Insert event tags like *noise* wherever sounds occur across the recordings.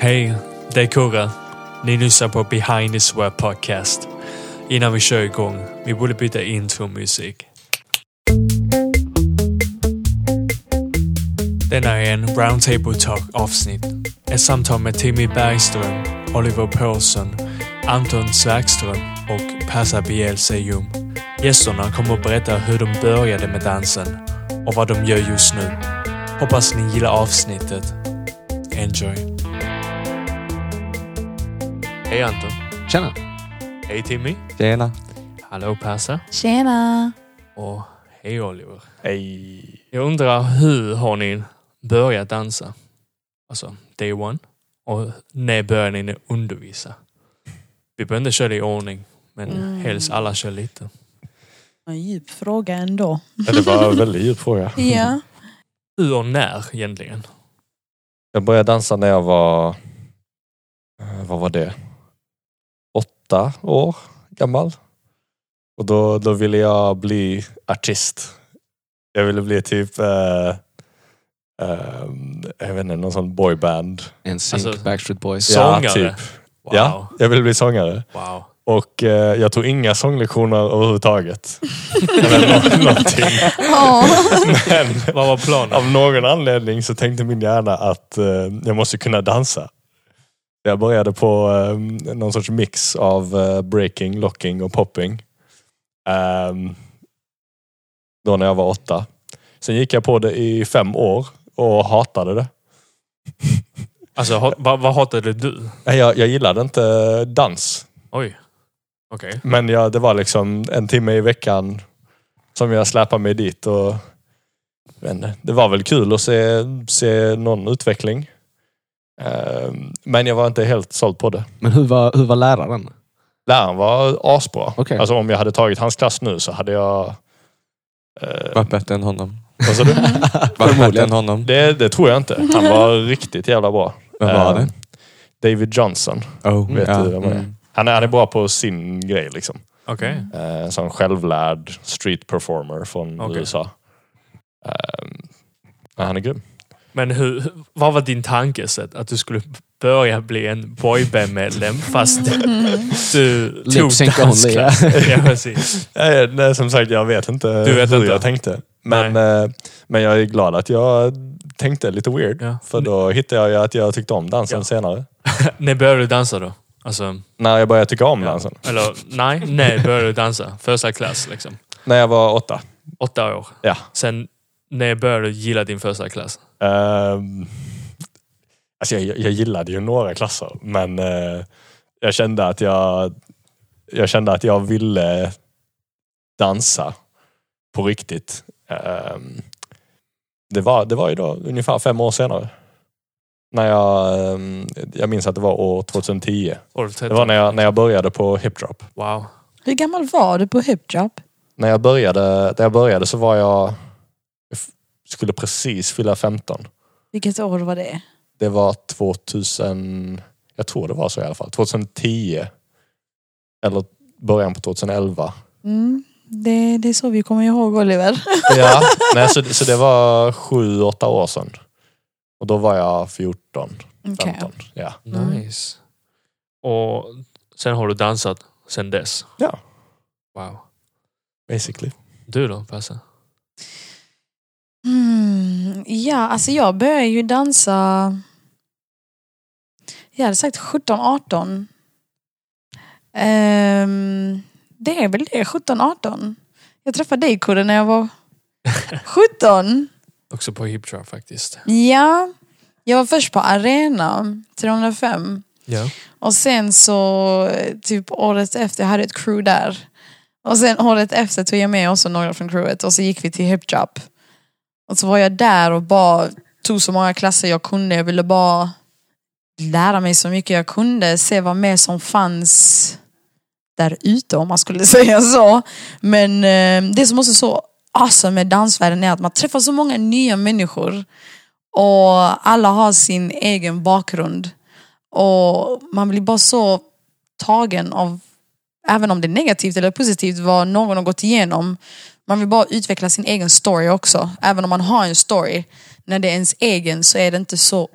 Hej, det är Kurra. Ni lyssnar på Behind the Swap Podcast. Innan vi kör igång, vi borde byta intromusik. Denna är en Roundtable Talk avsnitt. Ett samtal med Timmy Bergström, Oliver Paulsson, Anton Sverkström och Passa Bielsejum. Gästerna kommer att berätta hur de började med dansen och vad de gör just nu. Hoppas ni gillar avsnittet. Enjoy. Hej Anton. Tjena! Hej Timmy. Tjena! Hallå Persa. Tjena! Och hej Oliver. Hej! Jag undrar hur har ni börjat dansa? Alltså day one. Och när började ni undervisa? Vi behöver inte köra det i ordning. Men Mm. helst alla kör lite. En djup fråga ändå. Ja, det var en väldigt djup fråga. Ja. Hur och när egentligen? Jag började dansa när jag var, eh, vad var det? Åtta år gammal. Och då, då ville jag bli artist. Jag ville bli typ, eh, eh, jag vet inte, någon sån boyband. En sync Alltså- Backstreet Boys. Sångare? Ja, typ. Wow. Ja. Jag ville bli sångare. wow. Och eh, jag tog inga sånglektioner överhuvudtaget. Eller *laughs* nå- någonting. Ja. *laughs* *laughs* Men, Vad var planen? Av någon anledning så tänkte min hjärna att eh, jag måste kunna dansa. Jag började på eh, någon sorts mix av eh, breaking, locking och popping. Ehm, då när jag var åtta. Sen gick jag på det i fem år och hatade det. Alltså ha- vad, vad hatade du? Nej, Jag, jag gillade inte dans. Oj. Okej. Men jag, det var liksom en timme i veckan som jag släpade mig dit. Och, men det var väl kul att se, se någon utveckling. Ehm, Men jag var inte helt såld på det. Men hur var, hur var läraren? Läraren var asbra. Okej. Alltså om jag hade tagit hans klass nu så hade jag... eh, Var bättre *laughs* än honom. vad sa du? Var bättre Förmodligen. än honom. Det, det tror jag inte. Han var riktigt jävla bra. Vem var Ehm, det? David Johnson. Mm. Oh, vet du vem det är? Han är, han är bra på sin grej liksom. Okej. Eh, som självlärd street performer från Okej. USA. Ehm, ja, han är grym. Men hur, vad var din tankesätt? Att du skulle börja bli en boybandmedlem fast Mm. du tog Lip sync only. ja. dansklass? *laughs* ja, precis. Nej, Eh, nej, som sagt, jag vet inte Du vet hur inte. jag tänkte. Men, eh, men jag är glad att jag tänkte lite weird. Ja. För då hittade jag ju att jag tyckte om dansen Ja. senare. När började du dansa då? Alltså, När jag började tycka om Ja. dansen. eller nej, när började du dansa? Första klass liksom. När jag var åtta. Åtta år. Ja. Sen, när började du gilla din första klass? Ehm, alltså jag, jag gillade ju några klasser, men eh, jag kände att jag jag kände att jag ville dansa på riktigt. Ehm, det, var, det var ju då ungefär fem år senare. När jag, ehm, jag minns att det var år 2010. År 13. Det var när jag, när jag började på hipdrop. Wow. Hur gammal var du på hipjob? När jag började, när jag började så var jag, jag f- skulle precis fylla 15. Vilket år var det? Det var 2000, jag tror det var så i alla fall, 2010. Eller början på 2011. Mm. Det, det är så vi kommer ihåg Oliver. *laughs* Ja, nej, så, så det var sju, åtta år sedan. Och då var jag 14, Okej. 15. Ja. Mm. Nice. Och sen har du dansat sen dess? Ja. Wow. Basically. Du då, Passa? Mm. Ja, alltså jag började ju dansa... Jag hade sagt 17, 18. Ehm, det är väl det, 17, 18. Jag träffade dig Kurre när jag var 17. *laughs* Också på hiptrap faktiskt. Ja, jag var först på Arena 305 Ja. och sen så eh, typ året efter, jag hade ett crew där. Och sen året efter tog jag med också några från crewet och så gick vi till Hip Drop. Och så var jag där och bara tog så många klasser jag kunde. Jag ville bara lära mig så mycket jag kunde, se vad mer som fanns där ute om man skulle *laughs* säga så. Men eh, det som också är så awesome med dansvärlden är att man träffar så många nya människor och alla har sin egen bakgrund. Och man blir bara så tagen av, även om det är negativt eller positivt, vad någon har gått igenom. Man vill bara utveckla sin egen story också, även om man har en story. när det är ens egen så är det inte så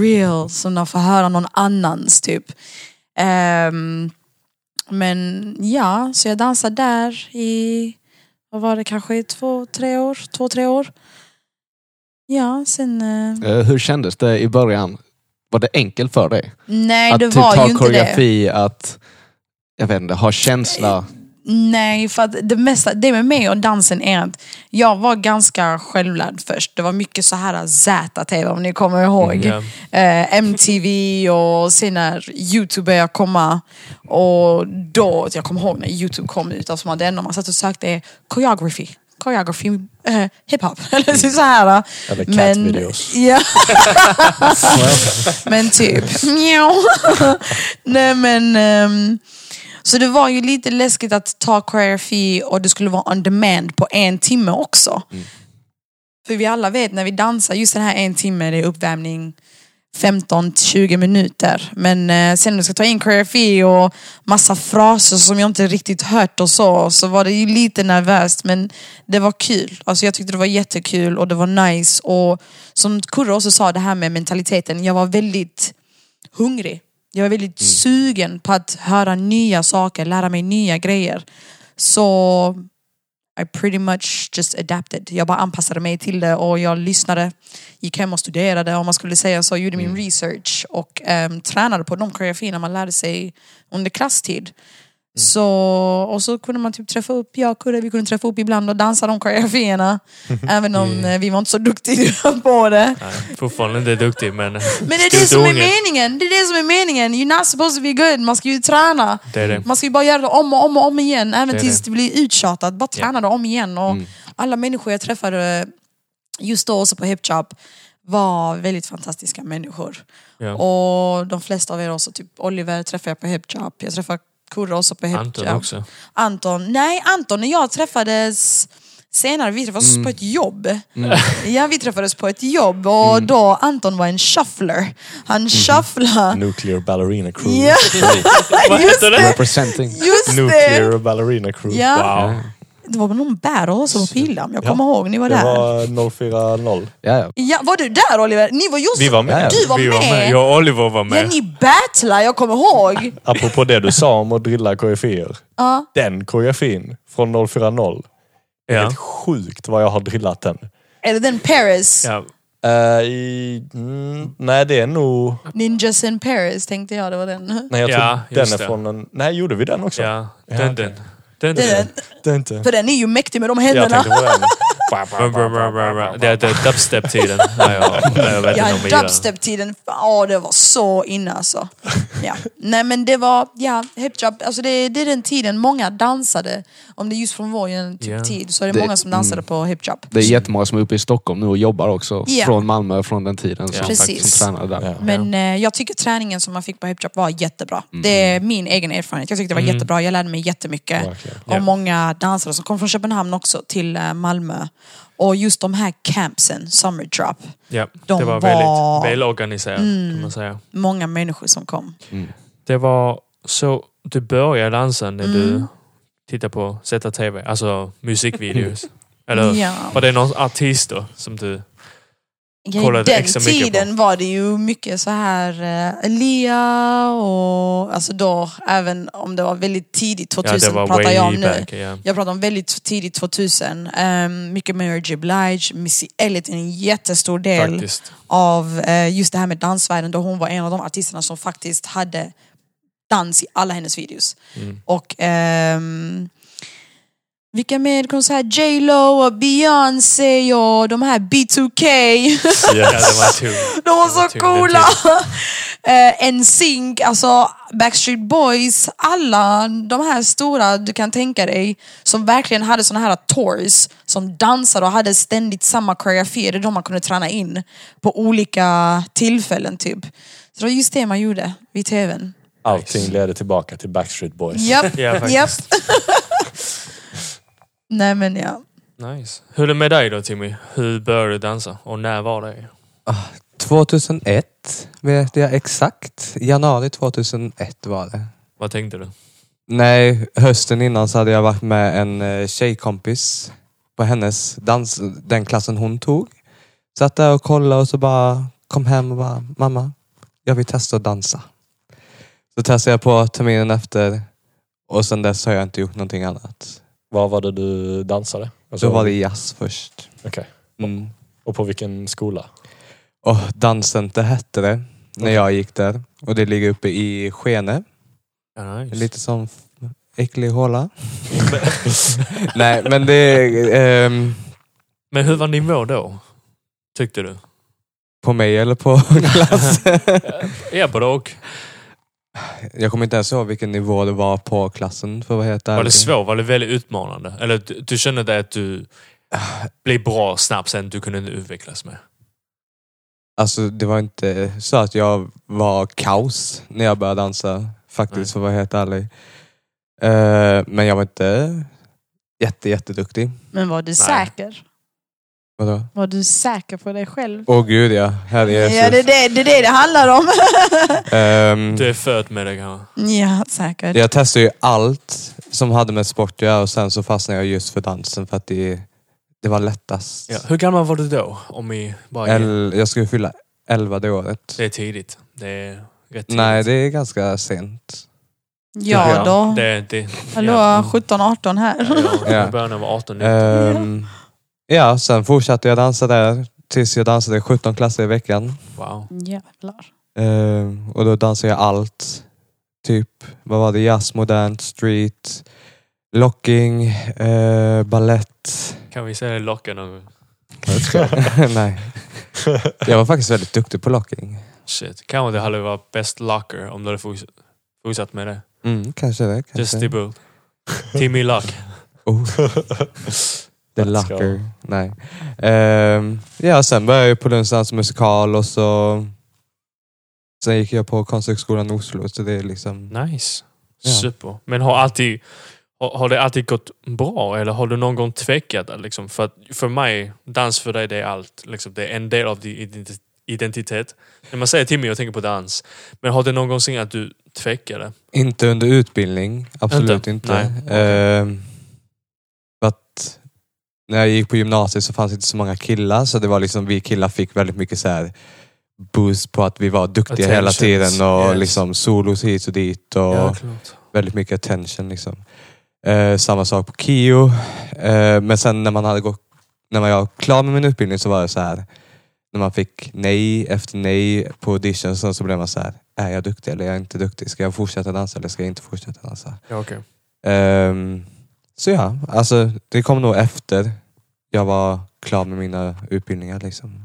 real som när får höra någon annans typ. Ehm, men ja, så jag dansade där i, vad var det, kanske i två, tre år? Två, tre år. Ja, sen... *laughs* eh, Eh, Hur kändes det i början? Var det enkelt för dig? nej, att det typ var ha ju inte det. koreografi, att jag vet inte, ha känsla. Nej, för att det mesta, det med mig och dansen är att jag var ganska självlärd först. Det var mycket så här Z-TV om ni kommer ihåg. Ja. eh, MTV och sen när Youtube började komma. Och då, jag kommer ihåg när Youtube kom ut, alltså man, det enda man satt och sökte choreography. Choreography, eh, hiphop, *laughs* eller så här. Eller cat-videos. Ja. *laughs* men typ. Mjau. *laughs* Nej men. ehm, så det var ju lite läskigt att ta koreografi och det skulle vara on demand på en timme också. För vi alla vet när vi dansar, just den här en timme, det är uppvärmning 15-20 minuter. Men eh, sen när du ska ta in koreografi och massa fraser som jag inte riktigt hört och så, så var det ju lite nervöst. Men det var kul. Alltså jag tyckte det var jättekul och det var nice. Och som Kurre också sa, det här med mentaliteten. Jag var väldigt hungrig. Jag var väldigt sugen på att höra nya saker, lära mig nya grejer. Så I pretty much just adapted. Jag bara anpassade mig till det och jag lyssnade, gick hem och studerade om man skulle säga så, gjorde min research och ehm, tränade på de koreografierna man lärde sig under klasstid. Så, och så kunde man typ träffa upp, jag och Kurre, vi kunde träffa upp ibland och dansa de koreografierna. även om eh, vi var inte så duktiga *laughs* på det. Nej, fortfarande inte duktig men... *laughs* Men det är det Skrota som är ången. meningen. Det är det som är meningen. You're not supposed to be good. Man ska ju träna. Det är det. Man ska ju bara göra det om och om och om igen. Även Det är tills det. Mm. det blir uttjatat. Bara träna det om igen. Och Alla människor jag träffade just då också på HipChop var väldigt fantastiska människor. Ja. Och de flesta av er också, typ Oliver träffade jag på HipChop. Jag träffade Kurre också på HipChop. Anton också. Anton, nej Anton och jag träffades senare, vi träffades Mm. på ett jobb. *laughs* Ja, vi träffades på ett jobb och Mm. då Anton var en shuffler. Han shufflade. Nuclear Ballerina Crew. Ja, *laughs* Vad heter det? *laughs* Representing. just det! *laughs* Nuclear Ballerina Crew. Ja. Wow. Det var väl någon battle också på Pildamm, jag kommer ihåg, ni var Det där. var 040. Ja, ja. Ja, var du där Oliver? Ni var just... Vi var med. Du var Vi med! var med. Jag och Oliver var Ja, med. ni battlade, jag kommer ihåg. Apropå det du sa om att drilla koreografier. Ja. Den koreografin från 040. Ja. Helt sjukt vad jag har drillat den. Eller den Paris, Ja. Eh, i, mm, nej, det är nog... Ninjas in Paris tänkte jag det var den. Nej, jag Ja, tror den just är det. från en... Nej, gjorde vi den också? Ja, Ja, den okej. den. Den *laughs* Det är den. den. Det är inte... För den är ju mäktig med de Jag händerna. tänkte på *laughs* den. Bra, bra, bra, bra, bra. Det är det är *laughs* dubstep-tiden. Nej, jag- jag vet Ja, inte om jag gillar den. dubstep-tiden, ja det var så inne alltså. Ja. Nej men det var, ja, hipjab, alltså det, det är den tiden många dansade. Om det är just från vår gen- typ Ja. tid så är det, Det- mm. många som dansade på hipjab. Det är jättemånga som är uppe i Stockholm nu och jobbar också. Ja. Från Malmö, från den tiden Ja, som, precis. som tränade där. Ja. Men eh, jag tycker träningen som man fick på hipjab var jättebra. Mm. Det är min egen erfarenhet. Jag tyckte det var jättebra, jag lärde mig jättemycket. Verkligen. Ja. Och många dansare som kom från Köpenhamn också till eh, Malmö. Och just de här campsen, summer drop. Ja, De det var var- Mm. väldigt välorganiserat kan man säga. Många människor som kom. Mm. Det var så du började dansa när Mm. du tittade på ZTV, alltså *laughs* musikvideos. Eller hur? Ja. var det någon artist då som du... Ja, kollade den extra mycket tiden var det ju mycket så här eh, Elia och alltså då även om det var väldigt tidigt Ja, 2000 det var pratar jag om way nu. back. Ja. Jag pratar om väldigt tidigt 2000. Um, mycket Mary J Blige, Missy Elliott en jättestor del Faktiskt. av eh, just det här med dansvärlden då hon var en av de artisterna som faktiskt hade dans i alla hennes videos. Och ehm, vilka mer kom så här J Lo och Beyoncé och de här B2K. Ja, det var tungt. De var så till- coola! *laughs* Eh, NSYNC, alltså Backstreet Boys, alla de här stora du kan tänka dig som verkligen hade sådana här tours som dansade och hade ständigt samma koreografier, det är de man kunde träna in på olika tillfällen typ. Så det var just det man gjorde vid tvn. Allting leder tillbaka till Backstreet Boys. Japp, Ja, *laughs* faktiskt. japp. *laughs* Nej men ja. Nice. Hur är det med dig då Timmy? Hur började du dansa och när var det? 2001 vet jag exakt. Januari 2001 var det. Vad tänkte du? Nej, hösten innan så hade jag varit med en eh, tjejkompis på hennes dans, den klassen hon tog. Satt där och kollade och så bara kom hem och bara, mamma, jag vill testa att dansa. Så testade jag på terminen efter och sen dess har jag inte gjort någonting annat. Vad var det du dansade? Alltså, Så var det jazz först. Okej. Mm. Och på *laughs* vilken skola? Och danscenter hette det när jag gick där. Och det ligger uppe i Skene. Ja, nice. Lite som äcklig håla. Nej, men det är ehm, *laughs* Men hur var nivå då? Tyckte du? på mig eller *laughs* på klassen. Ja, både och. jag kommer inte ens ihåg vilken nivå det var på klassen för vad heter Var det svårt? Var det väldigt utmanande? Eller du, du kände det att du blev bra snabbt sen du kunde inte utvecklas med? Alltså det var inte så att jag var kaos när jag började dansa Nej. faktiskt för att vara helt ärlig. Eh, men jag var inte jätte, jätteduktig. Men var du Nej. säker? Vadå? Var du säker på dig själv? Åh gud ja, herre Jesus. Ja, det är det det, är det, det handlar om. *laughs* Ehm, Du är född med det kanske? ja, säkert. Jag testade ju allt som hade med sport att göra och sen så fastnade jag just för dansen för att det, det var lättast. Ja. Hur gammal var du då? Om vi bara... El, jag skulle fylla 11 det året. Det är tidigt. Det är rätt tidigt. Nej, det är ganska sent. Ja Ja, då. Det, det, Hallå, ja. 17-18 här. Ja, Eh. Ja. jag började när jag var 18 19. Ehm, ja, sen fortsatte jag dansa där tills jag dansade 17 klasser i veckan. Wow. Jävlar. Ehm, och då dansade jag allt. Typ, vad var det? Jazz, modernt, street, locking, eh, ballett. Kan vi säga locka någon gång? *laughs* Nej. Jag var faktiskt väldigt duktig på locking. Shit. Kanske det hade varit bäst locker om du hade forts- fortsatt med det. Mm, kanske det. Kanske. Just i boot. Timmy Luck. Oh. The Let's go. Locker. Nej. Ehm, ja, sen började jag på Lunds dans och musikal och så... Sen gick jag på Konsthögskolan Oslo, så det är liksom... Nice. Ja. Super. Men har, alltid, har, har det alltid gått bra eller har du någon gång tvekat? Liksom, för, att, för mig, dans för dig det är allt. Liksom, det är en del av din identi- identitet. När man säger Timmy, jag tänker på dans. Men har det någonsin att du tvekade? Inte under utbildning, absolut Inte? inte. Nej, okej. Ehm, för att när jag gick på gymnasiet så fanns det inte så många killar, så det var liksom vi killar fick väldigt mycket så här boost på att vi var duktiga hela Attentions, tiden och yes. liksom solos hit och dit. Och klart. väldigt mycket attention. Liksom. Eh, samma sak på KIO. Eh, men sen när man hade gått, när man var klar med min utbildning så var det så här. När man fick nej efter nej på auditionsen så blev man så här. Är jag duktig eller är jag inte duktig? Ska jag fortsätta dansa eller ska jag inte fortsätta dansa? Ja, okej. Ehm, så ja, alltså det kom nog efter jag var klar med mina utbildningar. Liksom.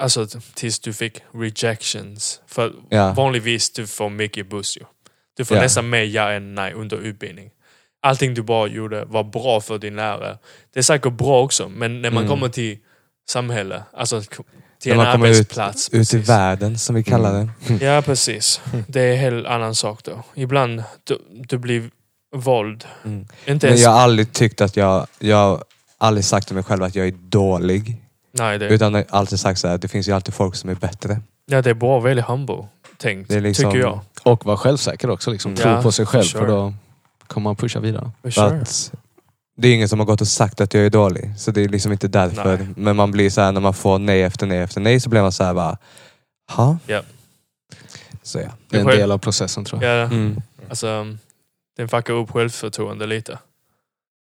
Alltså t- tills du fick rejections. För Ja. vanligtvis du får mycket buss ju. Du får Ja. nästan mer ja än nej under utbildning. Allting du bara gjorde var bra för din lärare. Det är säkert bra också, men när man Mm. kommer till samhälle, alltså k- till När en man kommer ut- arbetsplats. Ut i precis. världen som vi kallar det. Ja, precis. Det är en helt annan sak då. Ibland du, du blir våld. Mm. Inte Men ens... jag har aldrig tyckt att jag, jag har aldrig sagt till mig själv att jag är dålig. Nej, det, Utan jag har alltid sagt så här, det finns ju alltid folk som är bättre. ja, det är bra. Väldigt humble tänkt, Det är liksom- tycker jag. Och vara självsäker också. Liksom. Mm. Ja, Tro på sig själv sure. för då kommer man pusha vidare. For För sure. att det är ingen som har gått och sagt att jag är dålig. Så det är liksom inte därför. Nej. Men man blir så här, när man får nej efter nej efter nej så blir man så här bara, ha? Ja. Så ja. Det är en själv- del av processen tror jag. Ja, Mm. Alltså, den fuckar upp självförtroende lite.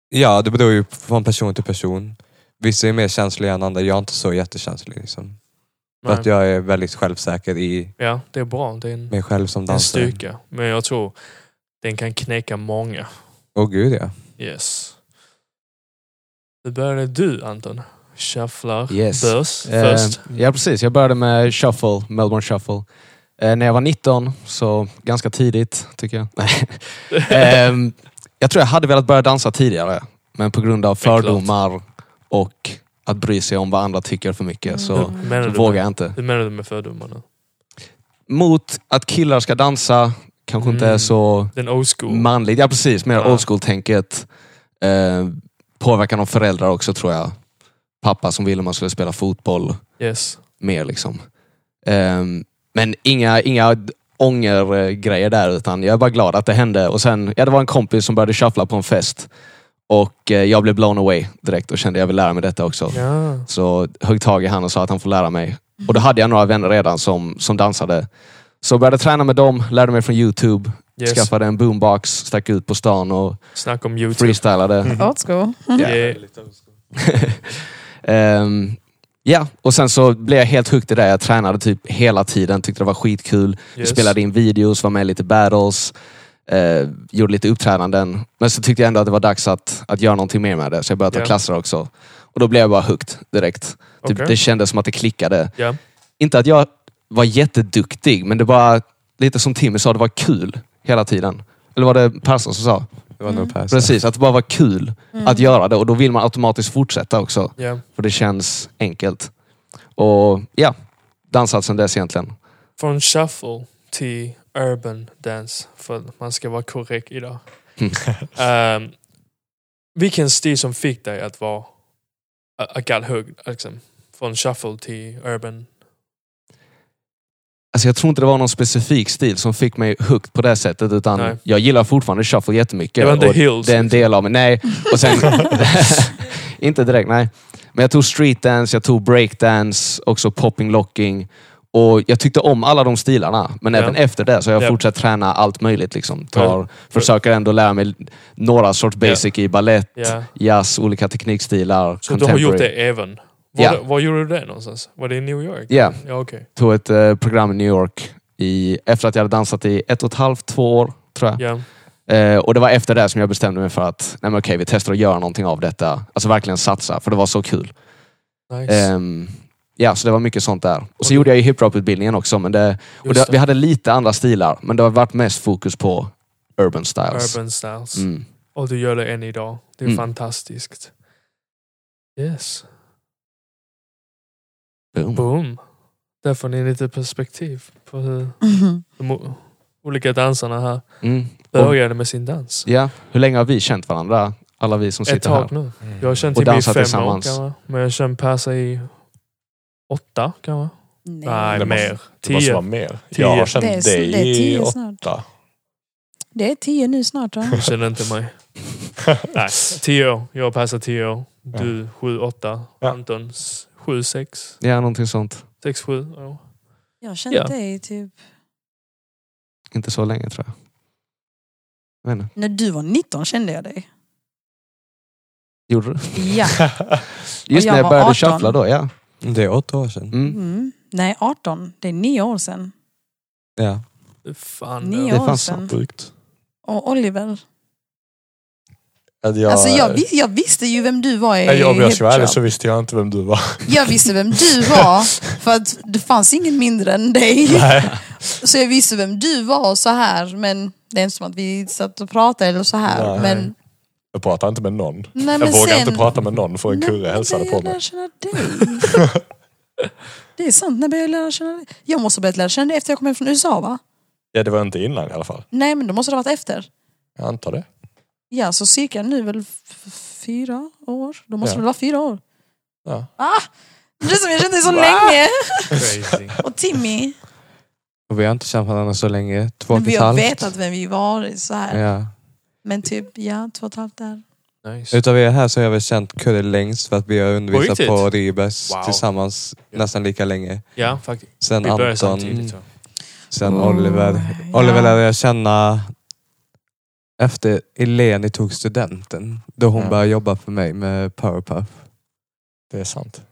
Ja, det beror ju från person till person. Vissa är mer känsliga än andra. Jag är inte så jättekänslig. Liksom. För Nej. att jag är väldigt självsäker i Ja, det är bra. Det är en, mig själv som en dansare. styrka. Men jag tror den kan knäcka många. Åh gud ja. Yes. Nu började du Anton. Shufflar Yes. börs Eh, först. ja, precis. Jag började med shuffle, Melbourne shuffle. Eh, när jag var 19, så ganska tidigt *laughs* tycker jag. Nej. Ehm, jag tror jag hade velat börja dansa tidigare, men på grund av Det är klart. fördomar och att bry sig om vad andra tycker för mycket *laughs* så, Hur menar så du vågar med- jag inte. Hur menar du med fördomar nu? Mot att killar ska dansa kanske inte är Mm. så Den old school? manligt. Ja precis, mer Ja. old school-tänket. Eh, påverkan av föräldrar också tror jag. Pappa som ville man skulle spela fotboll yes. mer liksom. Ehm, men inga, inga d- ångergrejer där utan jag är bara glad att det hände. Och sen, ja det var en kompis som började shuffla på en fest. Och eh, jag blev blown away direkt och kände jag vill lära mig detta också. Ja. Så högg tag i han och sa att han får lära mig. Och då hade jag några vänner redan som, som dansade. Så började träna med dem, lärde mig från YouTube, Yes. skaffade en boombox, stack ut på stan och Snacka om YouTube. freestylade. Old school. Mm. Yeah. *laughs* Ehm, ja, och sen så blev jag helt hooked i det. Jag tränade typ hela tiden, tyckte det var skitkul. Vi Yes. spelade in videos, var med i lite battles, eh, gjorde lite uppträdanden. Men så tyckte jag ändå att det var dags att, att göra någonting mer med det, så jag började ta Ja. klasser också. Och då blev jag bara hooked direkt. Typ, Okej. Det kändes som att det klickade. Ja. Inte att jag var jätteduktig, men det var lite som Timmy sa, det var kul hela tiden. Eller var det Persson som sa? Det var Mm. nog Persson. Precis, att det bara var kul Mm. att göra det och då vill man automatiskt fortsätta också. Ja. För det känns enkelt. Och ja, dansat sedan dess egentligen. Från shuffle till urban dance. För att man ska vara korrekt *laughs* idag. Mm. Ehm, vilken stil som fick dig att vara... Att att got hooked, liksom. Från shuffle till urban. Alltså jag tror inte det var någon specifik stil som fick mig hooked på det sättet. Utan Nej. jag gillar fortfarande shuffle jättemycket. Det var inte och hills. det är en del av mig. Nej, och *laughs* sen... *laughs* inte direkt, nej. Men jag tog streetdance, jag tog breakdance, också popping locking. Och jag tyckte om alla de stilarna. Men Ja. även efter det så har jag Ja. fortsatt träna allt möjligt. Liksom. Tar, Ja. Försöker ändå lära mig några sorts basic i ballett, Ja. jazz, olika teknikstilar. Så du har gjort det contemporary. även? Var, Ja. det- var gjorde du det någonstans? Var det i New York? Ja, Ja, okej. tog ett eh, program i New York i, efter att jag hade dansat i ett och ett halvt, två år tror jag. Ja. Eh, och det var efter det som jag bestämde mig för att nej men okej, vi testar att göra någonting av detta. Alltså verkligen satsa, för det var så kul. Nice. Ehm, ja, så det var mycket sånt där. Och så Okej. gjorde jag ju hiphop-utbildningen också. Men det, och Just det, det. vi hade lite andra stilar, men det har varit mest fokus på urban styles. Urban styles. Mm. Och du gör det än idag. Det är Mm. fantastiskt. Yes. Boom. Boom. Där får ni lite perspektiv på hur Mhm. de o- olika dansarna här Mm. började med sin dans. Ja. Hur länge har vi känt varandra? Alla vi som Ett sitter tag här. nu. Jag har känt Och Timmy i dansat fem år tillsammans. kanske. Men jag har känt Persa i åtta kanske. Nej, Det måste- mer. Det måste vara Tio. mer. Tio. Jag har Det är, känt det är dig i tio åtta. snart. Det är tio nu snart va? Du känner inte *laughs* mig. Nej, tio år. Jag och Persa tio år. Du sju, åtta. Ja. Anton s- sju, sex. Ja, någonting sånt. Sex, sju. Ja. Jag har känt Ja. dig typ Inte så länge tror jag. Jag vet inte. när du var 19 kände jag dig. Gjorde du? Ja. Just jag när jag var började 18. shuffla då, ja. Det är åtta år sedan. Mm. Mm. Nej, 18. Det är nio år sedan. Ja. Fan. Nio Det år fanns sedan. Sjukt. Och Oliver. Att jag, alltså jag, vis- jag visste ju vem du var i Nej, jag, om jag ska vara ärlig Hip så Drop. visste jag inte vem du var. Jag visste vem du var för att det fanns ingen mindre än dig. *laughs* Nej. Så jag visste vem du var och så här men det är inte som att vi satt och pratade eller så här. Nej. Men, Jag pratar inte med någon. nej, Jag men vågar sen, inte prata med någon för en Nej, kurre hälsade men på Jag mig. lär känna dig. Det är sant, när började jag lära känna dig? Jag måste ha börjat lära känna dig efter jag kom hem från USA va? Ja, det var inte innan i alla fall. Nej men då måste det ha varit efter. Jag antar det. Ja så cirka nu väl f- f- fyra år? Då måste Ja. det vara fyra år. Ja. Ah! Det är som jag känt dig så länge! Crazy. Och Timmy, Och vi har inte känt varandra så länge. Två men och vi ett har halvt. vetat vem vi var så här. Ja. Men typ, ja, två och ett halvt där. Nice. Utav er här så har jag väl känt Kurre längst för att vi har På undervisat riktigt? på Ribes Wow. tillsammans Ja. nästan lika länge. Ja, faktiskt. Sen Vi började Anton, samtidigt. så. sen Oh, Oliver. ja. Oliver lärde jag känna efter Eleni tog studenten. Då hon Ja. började jobba för mig med Powerpuff. Det är sant.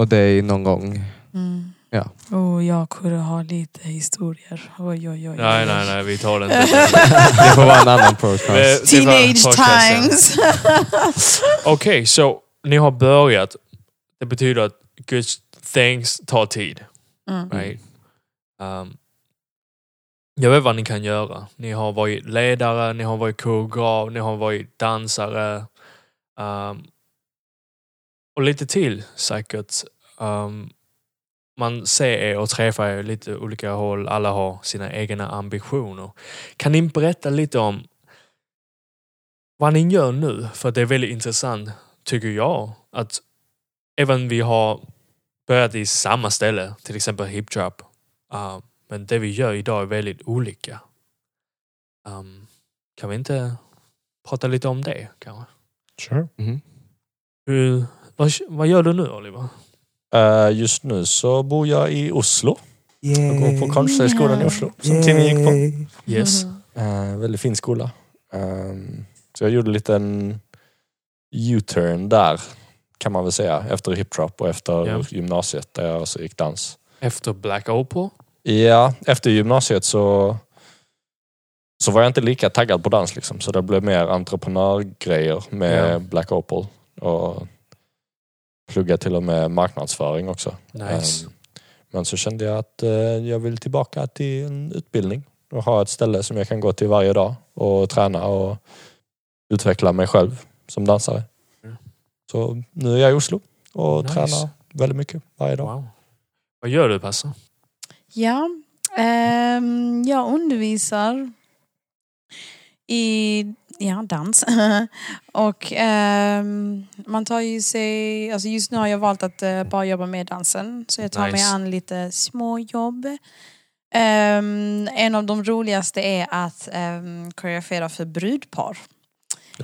Och det är någon gång. Mm. Ja. Oh, jag kunde ha lite historier. Oj, oj, oj. Nej, nej, nej. Vi tar det inte. Det får vara en annan podcast. Det- det var Teenage podcasten. times. *laughs* Okej, så ni har börjat. Det betyder att Guds thanks tar tid. Mm. Right? Um, jag vet vad ni kan göra. Ni har varit ledare, ni har varit koreograf, ni har varit dansare. Um, och lite till säkert. Um, man ser er och träffar er lite olika håll. Alla har sina egna ambitioner. Kan ni berätta lite om vad ni gör nu? För det är väldigt intressant, tycker jag, att även vi har börjat i samma ställe, till exempel hiptrap. Uh, men det vi gör idag är väldigt olika. Um, kan vi Ehm, inte prata lite om det kanske. Sure. Mhm. Hur, vad, vad gör du nu Oliver? Eh, just nu så bor jag i Oslo. Jag går Mm. på Konsthögskolan i Oslo, som Timmy gick på. Yes. Mhm. Eh, väldigt fin skola. Ehm, så jag gjorde en liten U-turn där, kan man väl säga, efter hiptrap och efter Ja. gymnasiet där jag också gick dans. Efter Black Opal? Ja, efter gymnasiet så, så var jag inte lika taggad på dans liksom, så det blev mer entreprenörgrejer med Ja. Black Opal och pluggade till och med marknadsföring också. Nice. Ehm, Men så kände jag att eh, jag vill tillbaka till en utbildning och ha ett ställe som jag kan gå till varje dag och träna och utveckla mig själv som dansare. Mm. Så nu är jag i Oslo och Nice. tränar väldigt mycket varje dag. Wow. Vad gör du Passa? Ja, ehm, jag undervisar i ja, dans. *laughs* och ehm, man tar ju sig, alltså just nu har jag valt att eh, bara jobba med dansen. Så jag tar mig Nice. an lite småjobb. Ehm, en av de roligaste är att um, koreografera för brudpar.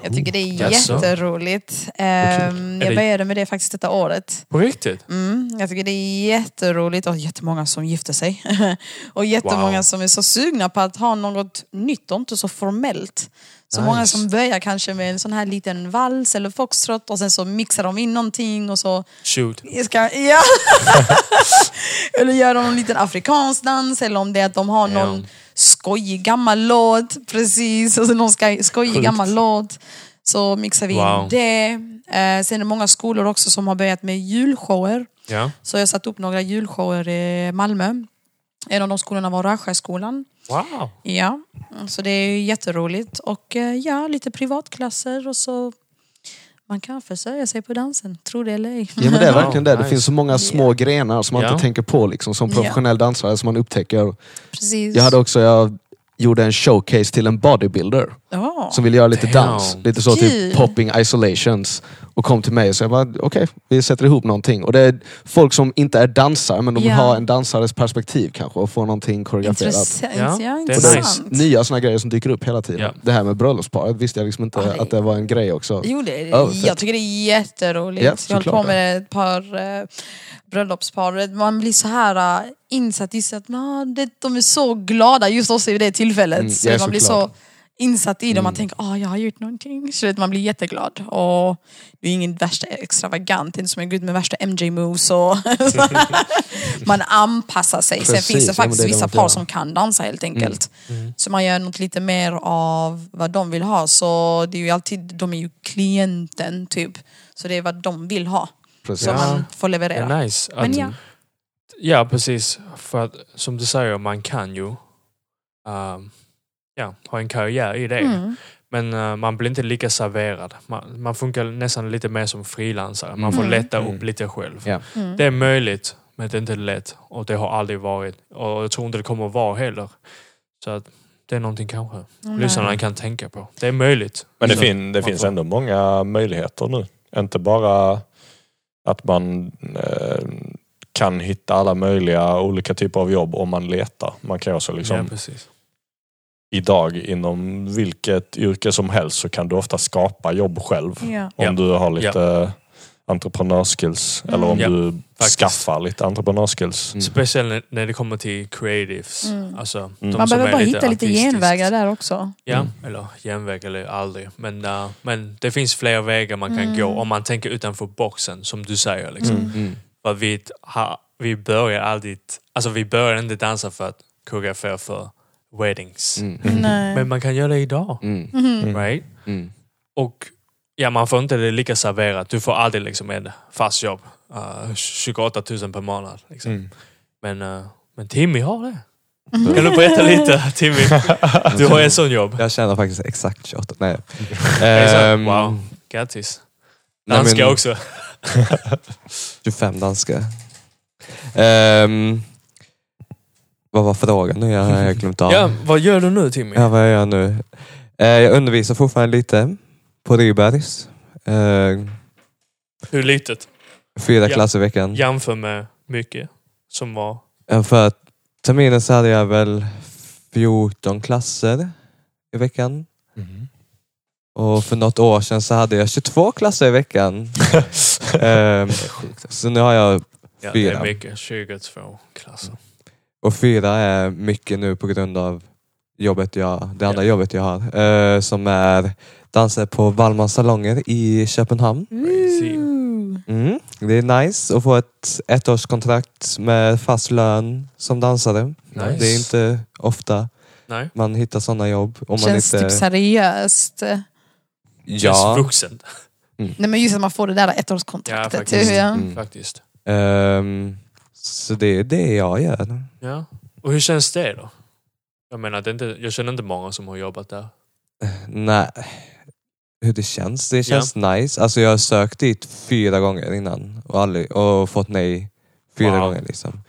Jag tycker det är jaså. jätteroligt. Um, Är det- jag började med det faktiskt detta året. På riktigt? Mm, jag tycker det är jätteroligt och jättemånga som gifter sig. *laughs* och jättemånga Wow. som är så sugna på att ha något nytt och inte så formellt. Så Nice. många som börjar kanske med en sån här liten vals eller foxtrot och sen så mixar de in någonting och så Shoot. ska, ja. *laughs* eller gör de en liten afrikansk dans eller om det är att de har någon Ja. skojig gammal låt. Precis, alltså någon ska, skojig Sjukt. gammal låt. Så mixar vi Wow. in det. Eh, sen är det många skolor också som har börjat med julshower. Ja. Så jag satte upp några julshower i Malmö. En av de skolorna var Rösjöskolan. Wow. Ja, så det är jätteroligt. Och eh, ja, lite privatklasser och så man kan försörja sig på dansen, tro det eller ej. Ja, men det är Wow, verkligen det. Det nice. finns så många små grenar som man Ja. inte tänker på liksom, som Ja. professionell dansare som man upptäcker. Precis. Jag hade också, jag gjorde en showcase till en bodybuilder Ja. som ville göra lite Damn. dans. Lite så Kul. typ popping isolations. Och kom till mig och sa okej, vi sätter ihop någonting. Och det är folk som inte är dansare men de vill Ja. ha en dansares perspektiv kanske och få någonting koreograferat. Intressant. Ja, Ja, det är Och det är intressant. nya sådana grejer som dyker upp hela tiden. Ja. Det här med bröllopsparet visste jag liksom inte Ja, det- att det var en grej också. Jo, det är det. Ja, fett. jag tycker det är jätteroligt. Ja, jag höll såklart på det. med ett par eh, bröllopspar. Man blir så här eh, insatt i så att "Nå, det, de är så glada just också i det tillfället. Mm, så ja, man blir så såklart. Mm. insatt i det. Man tänker att jag har gjort någonting. Så vet, man blir jätteglad. Och det är ingen värsta extravagant. Det är inte som jag går ut med värsta *laughs* MJ-moves. Och *laughs* man anpassar sig. Precis, Sen ja, finns det men faktiskt det är det vissa man par gör. som kan dansa helt enkelt. Mm. Så man gör något lite mer av vad de vill ha. Så det är ju alltid, de är ju klienten typ. Så det är vad de vill ha Precis. som Ja. man får leverera. Det är nice. Att, Men ja. ja, precis. För att som du säger, man kan ju ehm, ja, ha en karriär i det. Mm. Men eh, man blir inte lika serverad. Man, man funkar nästan lite mer som frilansare. Man får Mm. lätta Mm. upp lite själv. Ja. Mm. Det är möjligt, men det är inte lätt. Och det har aldrig varit. Och jag tror inte det kommer att vara heller. Så att det är någonting kanske Nej. lyssnarna kan tänka på. Det är möjligt. Men det, Så- fin, det man finns får- ändå många möjligheter nu. Inte bara att man eh, kan hitta alla möjliga olika typer av jobb om man letar. Man kan också liksom Ja, precis. idag inom vilket yrke som helst så kan du ofta skapa jobb själv. Ja. Om Mm. Ja. Mm. du har lite entreprenörsskills eller om Ja, du faktiskt. skaffar lite entreprenörsskills. Mm. Speciellt när- när det kommer till creatives. Mm. Alltså, de Man Man som behöver är bara hitta lite artistiskt. genvägar där också. Ja, Mm. eller genväg eller aldrig. Men, eh, men det finns fler vägar man kan Mm. gå om man tänker utanför boxen, som du säger. Liksom. Mm. Mm. För vi, ha, vi börjar aldrig... Alltså vi börjar inte dansa för att koreografera för weddings. Mm. Mm. Nej. Men man kan göra det idag, Mm. Mhm. right? Mm. Och ja, man får inte det lika serverat. Du får aldrig liksom en fast jobb. eh, 28 000 per månad. Liksom. Mm. Men, eh, men Timmy har det. Mm-hmm. Kan du berätta lite Timmy? Du har ett sånt jobb. Jag tjänar faktiskt exakt 28. Nej. Är det så? Ehm, wow, grattis. nej, Danska men också. 25 danska. Ehm, vad var frågan nu? Jag har glömt av. Ja, vad gör du nu Timmy? Ja, vad jag gör nu? Eh, jag undervisar fortfarande lite på Rybergs. Eh, Hur litet? fyra Ja. klasser i veckan. Jämför med mycket som var... Eh, För terminen så hade jag Mm. väl 14 klasser i veckan. Och för något år sedan så hade jag 22 klasser *laughs* i veckan. Ehm, så nu har jag, Ja, det är Fyra. mycket. 22 klasser. och fyra är mycket nu på grund av jobbet jag, det andra Ja. jobbet jag har. eh, som är danser på Wallmans salonger i Köpenhamn. Crazy. Mm. Det är nice att få ett ettårskontrakt med fast lön som dansare. Nice. Det är inte ofta Nej. man hittar sådana jobb. Om man Känns inte... typ seriöst. Känns Ja. vuxen Nej men just att man får det där Ja, ettårskontraktet. faktiskt. typ, ja. Mm. faktiskt. Ehm, så det är det jag gör. Ja. Och hur känns det då? Jag menar, det är inte, jag känner inte många som har jobbat där. Nej. Hur det känns? Det känns nice. Alltså jag har sökt dit fyra gånger innan och, aldrig, och fått nej fyra Wow. gånger. liksom.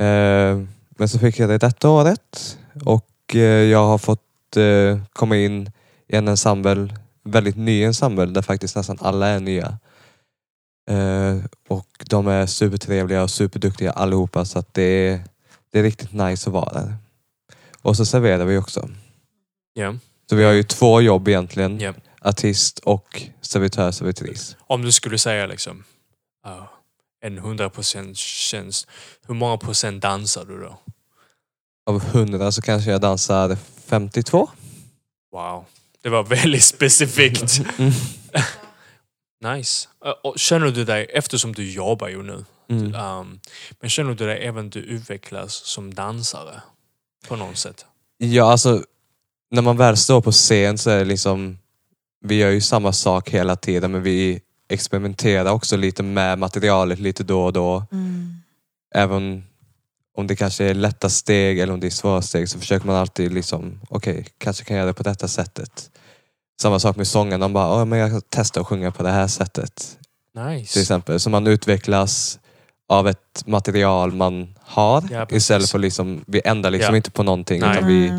Ehm, men så fick jag det detta året och eh, jag har fått eh, komma in i en ensemble, väldigt ny ensemble där faktiskt nästan alla är nya. Eh, och de är supertrevliga och superduktiga allihopa så att det, är, det är riktigt nice att vara där. Och så serverar vi också. Ja. Så vi har ju två jobb egentligen. Ja. Artist och servitör, servitris. Om du skulle säga liksom ja, en 100% tjänst, hur många procent dansar du då? Av hundra så kanske jag dansar 52. Wow. Det var *laughs* väldigt specifikt. Mm. Nice. Eh, Och känner du dig, eftersom du jobbar ju nu, Mm. ehm, men känner du dig även du utvecklas som dansare? På något sätt? Ja, alltså när man väl står på scen så är det liksom, vi gör ju samma sak hela tiden men vi experimenterar också lite med materialet lite då och då. Mm. Även om det kanske är lätta steg eller om det är svåra steg så försöker man alltid liksom, okej, kanske kan jag göra det på detta sättet. Samma sak med sången, de bara, "Ja, men jag testar att sjunga på det här sättet. till Nice. exempel. Så man utvecklas av ett material man har Ja, precis. istället för liksom, vi ändrar liksom Ja. inte på någonting Nej. utan vi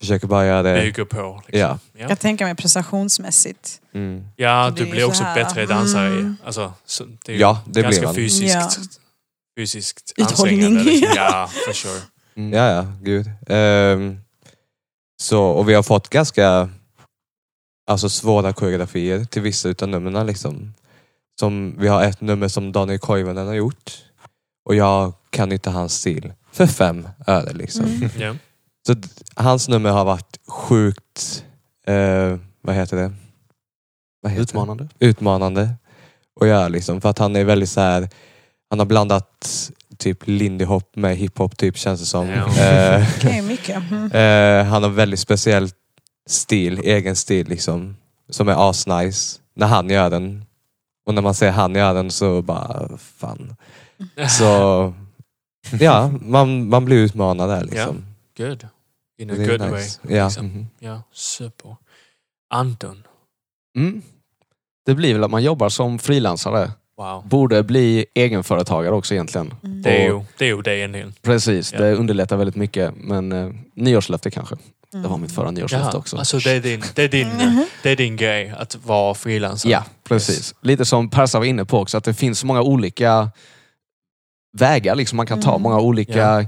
försöker bara göra det. Bygger på. Liksom. Ja. Ja. Mm. Jag tänker mig prestationsmässigt. Mm. ja, Det du är blir så också här. bättre dansare. Mm. Alltså, så det är ju ja, det blir ganska man. fysiskt, Ja. fysiskt Uthållig. ansträngande. Liksom. *laughs* Ja, for sure. Mm. Ja, ja, gud. Ehm, så, och vi har fått ganska alltså, svåra koreografier till vissa utav numren. Liksom. Som, vi har ett nummer som Daniel Koivunen har gjort och jag kan inte hans stil för fem öre. Liksom. Mm. Ja. Så d- hans nummer har varit sjukt, eh, vad heter det? Vad heter Utmanande. Det? Utmanande att göra liksom. För att han är väldigt så här. han har blandat typ lindy hop med hiphop typ känns det som. Ja. Eh, *laughs* Det är ju mycket. Mm. eh, han har väldigt speciell stil, egen stil liksom. Som är asnice när han gör den. Och när man ser han gör den så bara, fan. *laughs* *laughs* Så ja, man, man blir utmanad där liksom. Good. In a Det är good nice. way. Ja. Liksom. Mhm. Ja, super. Anton. Mm. Det blir väl att man jobbar som frilansare. Wow. Borde bli egenföretagare också egentligen. Det är Och- ju det, är ju det egentligen. Precis, Ja. det underlättar väldigt mycket. Men eh, nyårslöfte kanske. Det var Mm. mitt förra nyårslöfte Jaha, också. Alltså det är, din, det, är din, Mhm. det är din grej att vara frilansare. Ja, precis. Yes. Lite som Persa var inne på också, att det finns så många olika vägar liksom man kan ta. Mm. Många olika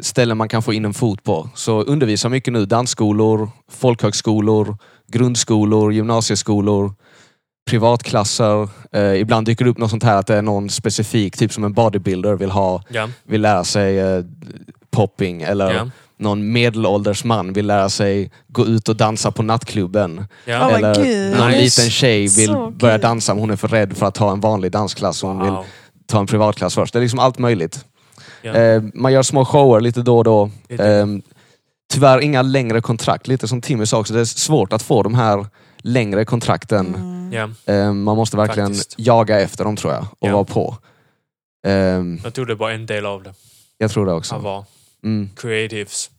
ställen man kan få in en fot på. Så undervisa mycket nu. Dansskolor, folkhögskolor, grundskolor, gymnasieskolor, privatklasser. Eh, ibland dyker det upp något sånt här att det är någon specifik, typ som en bodybuilder vill ha, Ja, vill lära sig eh, popping eller ja, någon medelålders man vill lära sig gå ut och dansa på nattklubben. ja. Åh, vad Eller gud. någon Nice. liten tjej vill Så börja kul. dansa men hon är för rädd för att ta en vanlig dansklass. så Hon vill Wow. ta en privatklass först. Det är liksom allt möjligt. Ja. Eh, man gör små shower lite då och då. Lite. Ehm. Eh, tyvärr inga längre kontrakt. Lite som Timmy sa också, det är svårt att få de här längre kontrakten. Mm. ja. Eh, man måste verkligen Faktiskt. jaga efter dem tror jag och Ja. vara på. Eh, Jag tror det var en del av det. jag tror det Han också. var Mm, creatives.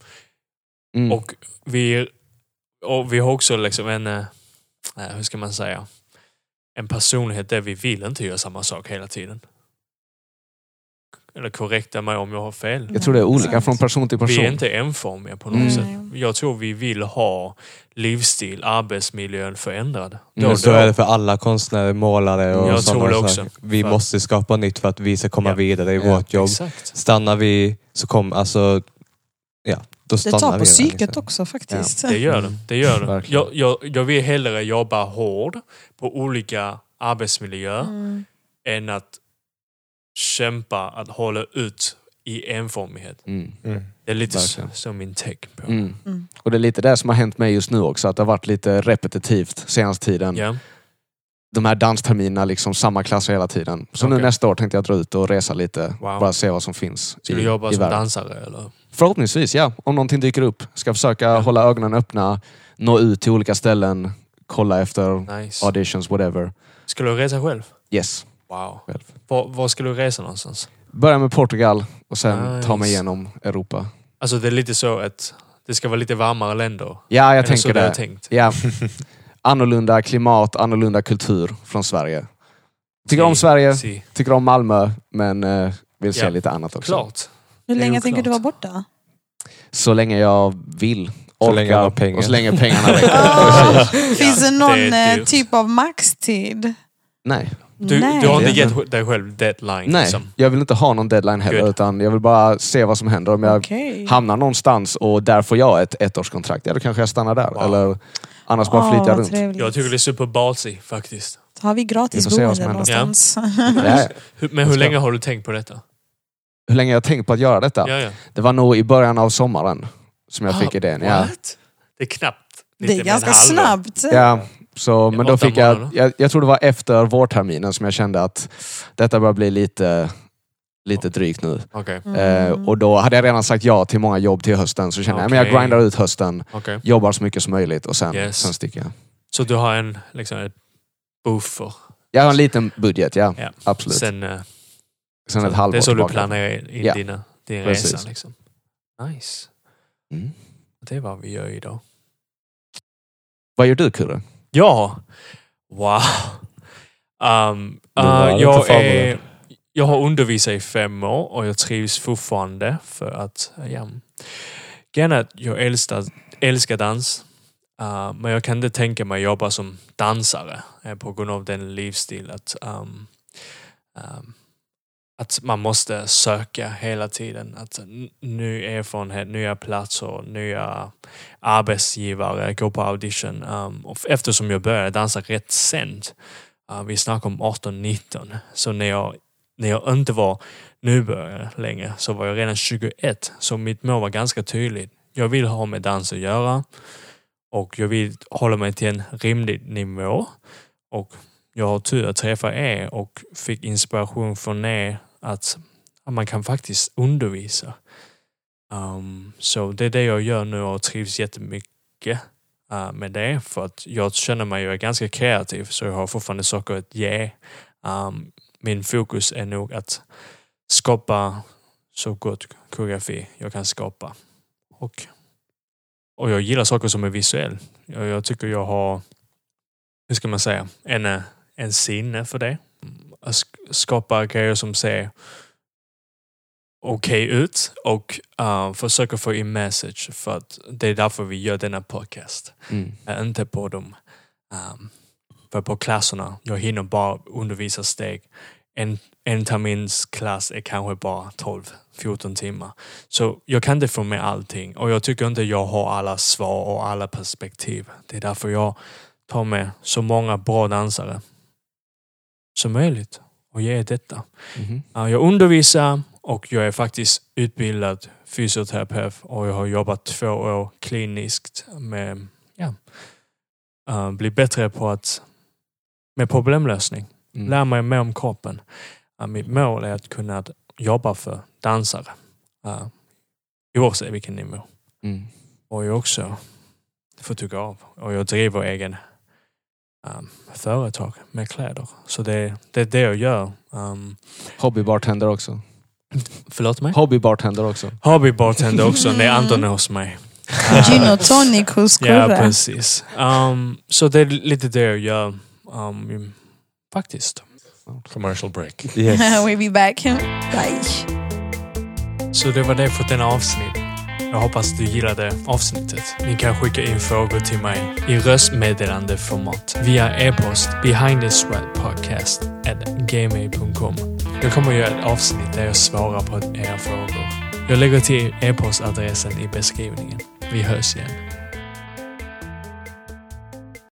mm, Och vi, och vi har också liksom en, eh, eh, hur ska man säga, en personlighet där vi vill inte göra samma sak hela tiden. Eller korrekta mig om jag har fel. jag tror det är olika Exakt. från person till person. Vi är inte enformiga på något Mm. sätt. Jag tror vi vill ha livsstil, arbetsmiljön förändrad. Mm. Då, Men och så då. är det för alla konstnärer, målare och Jag sådana tror det saker. också. Vi För- måste skapa nytt för att vi ska komma Ja. vidare i Ja, vårt jobb. Exakt. Stannar vi så kommer, alltså, ja, då Det stannar vi tar på där, psyket liksom. också faktiskt. Det gör det. Mm. det, gör det. Verkligen. Jag, jag, jag vill hellre jobba hård på olika arbetsmiljöer Mm. än att kämpa att hålla ut i enformighet. Mm. Mm. Det är lite Verkligen. s- som min take på. Mm. Mm. Och det är lite det som har hänt mig just nu också, att det har varit lite repetitivt senaste tiden. Ja. De här dansterminerna, liksom samma klasser hela tiden. Så nu Okej. nästa år tänkte jag dra ut och resa lite, Wow. bara se vad som finns Ska du jobba i som världen. dansare eller? Förhoppningsvis, ja. Om någonting dyker upp. Ska försöka Ja. hålla ögonen öppna, nå ut till olika ställen, kolla efter Nice. auditions, whatever. Ska du resa själv? Yes. Wow. Själv. Var, var ska du resa någonstans? Börja med Portugal och sen ta mig Nice. igenom Europa. Alltså det är lite så att det ska vara lite varmare länder. Ja, jag Är det så tänker du har det. tänkt? *laughs* Ja. Annorlunda klimat, annorlunda kultur från Sverige. Tycker om Si, Sverige, si. tycker om Malmö, men eh, vill se Ja. lite annat också. *laughs* Klart. Hur Det är länge ju tänker du vara klart. borta? Så länge jag vill. Så länge jag har pengar. Och så *laughs* länge pengarna *laughs* räcker. Ah, Precis. Finns det någon det är eh, dyrt. typ av maxtid? Nej, Du, du har inte Nej. gett dig själv deadline. nej. Liksom. Jag vill inte ha någon deadline heller, Good. utan jag vill bara se vad som händer. Om jag Okej. hamnar någonstans och där får jag ett ettårskontrakt, ja då kanske jag stannar där. Wow. Eller annars bara Åh, flyttar jag vad runt. trevligt. Jag tycker det är superballsy faktiskt. Har vi Vi gratis får se vad boende som händer. någonstans? Ja. Hur- Men hur Let's go. länge har du tänkt på detta? Hur länge har jag tänkt på att göra detta? Ja, ja. Det var nog i början av sommaren som jag Ah, fick idén. Ja. What? Det är knappt. *laughs* Det är ganska snabbt. snabbt. Ja, *laughs* så, men då åtta fick jag, månader. jag... Jag tror det var efter vårterminen som jag kände att detta börjar bli lite, lite drygt nu. Okej, Mm. Eh, och då hade jag redan sagt ja till många jobb till hösten. Så kände jag men Okej. jag grindar ut hösten, okej. jobbar så mycket som möjligt och sen, Yes. sen sticker jag. Så du har en liksom, ett buffer. Jag har en liten budget, ja. Ja. Absolut. Sen, Sen, eh, ett så, halvår det är så du tillbaka. planerar in Ja, dina, din precis. resa. Liksom. Nice. Mm. Det är vad vi gör idag. Vad gör du Kurre? Ja! Wow! Um, *laughs* Du var eh, lite jag, är, förberedd. jag har undervisat i fem år och jag trivs fortfarande för att eh, ja, gärna att jag älskar, älskar dans. Eh, men jag kan inte tänka mig att jobba som dansare eh, på grund av den livsstil att, um, um, att man måste söka hela tiden. Att n- ny erfarenhet, nya platser, nya arbetsgivare, gå på audition. Um, och eftersom jag började dansa rätt sent, uh, vi snackar om 18-19, så när jag, när jag inte var nybörjare längre så var jag redan 21. Så mitt mål var ganska tydligt. Jag vill ha med dans att göra och jag vill hålla mig till en rimlig nivå. Och jag har tur att träffa er och fick inspiration från er att man kan faktiskt undervisa. Um, så det är det jag gör nu och trivs jättemycket uh, med det. För att jag känner mig, jag är ganska kreativ så jag har fortfarande saker att ge. Um, min fokus är nog att skapa så gott koreografi jag kan skapa. Och, och jag gillar saker som är visuell. Jag, jag tycker jag har, hur ska man säga, en, eh, en sinne för det. Att sk- skapa grejer som ser okej ut och uh, försöka få in message för att det är därför vi gör denna podcast. Mm. Eh, inte på dem. Um, för på klasserna, jag hinner bara undervisa steg. En, en termins klass är kanske bara 12-14 timmar. Så jag kan inte få med allting och jag tycker inte jag har alla svar och alla perspektiv. Det är därför jag tar med så många bra dansare som möjligt och ger detta. Mhm. Ja, Jag undervisar och jag är faktiskt utbildad fysioterapeut och jag har jobbat två år kliniskt med ja, eh, bli bättre på att med problemlösning. Mm. Lära mig mer om kroppen. Ja, Mitt mål är att kunna att jobba för dansare. eh, Oavsett vilken nivå. Mm. Och jag också får tycka av. Och jag driver egen um, företag med kläder. Så det, det är det jag gör. Um, Hobbybartender också. Mm. förlåt mig? Hobbybartender också. Hobbybartender också. Det är Anton hos mig. *laughs* Gin och tonic hos Ja, Kurre. precis. Um, så det är lite det jag gör. Um, faktiskt. Commercial break. *laughs* Yes. *laughs* we'll be back. Bye. Så det var det för denna avsnitt. Jag hoppas du gillade avsnittet. Ni kan skicka in frågor till mig i röstmeddelandeformat via e-post behindthesweatpodcast@gmail.com. Jag kommer göra ett avsnitt där jag svarar på era frågor. Jag lägger till e-postadressen i beskrivningen. Vi hörs igen.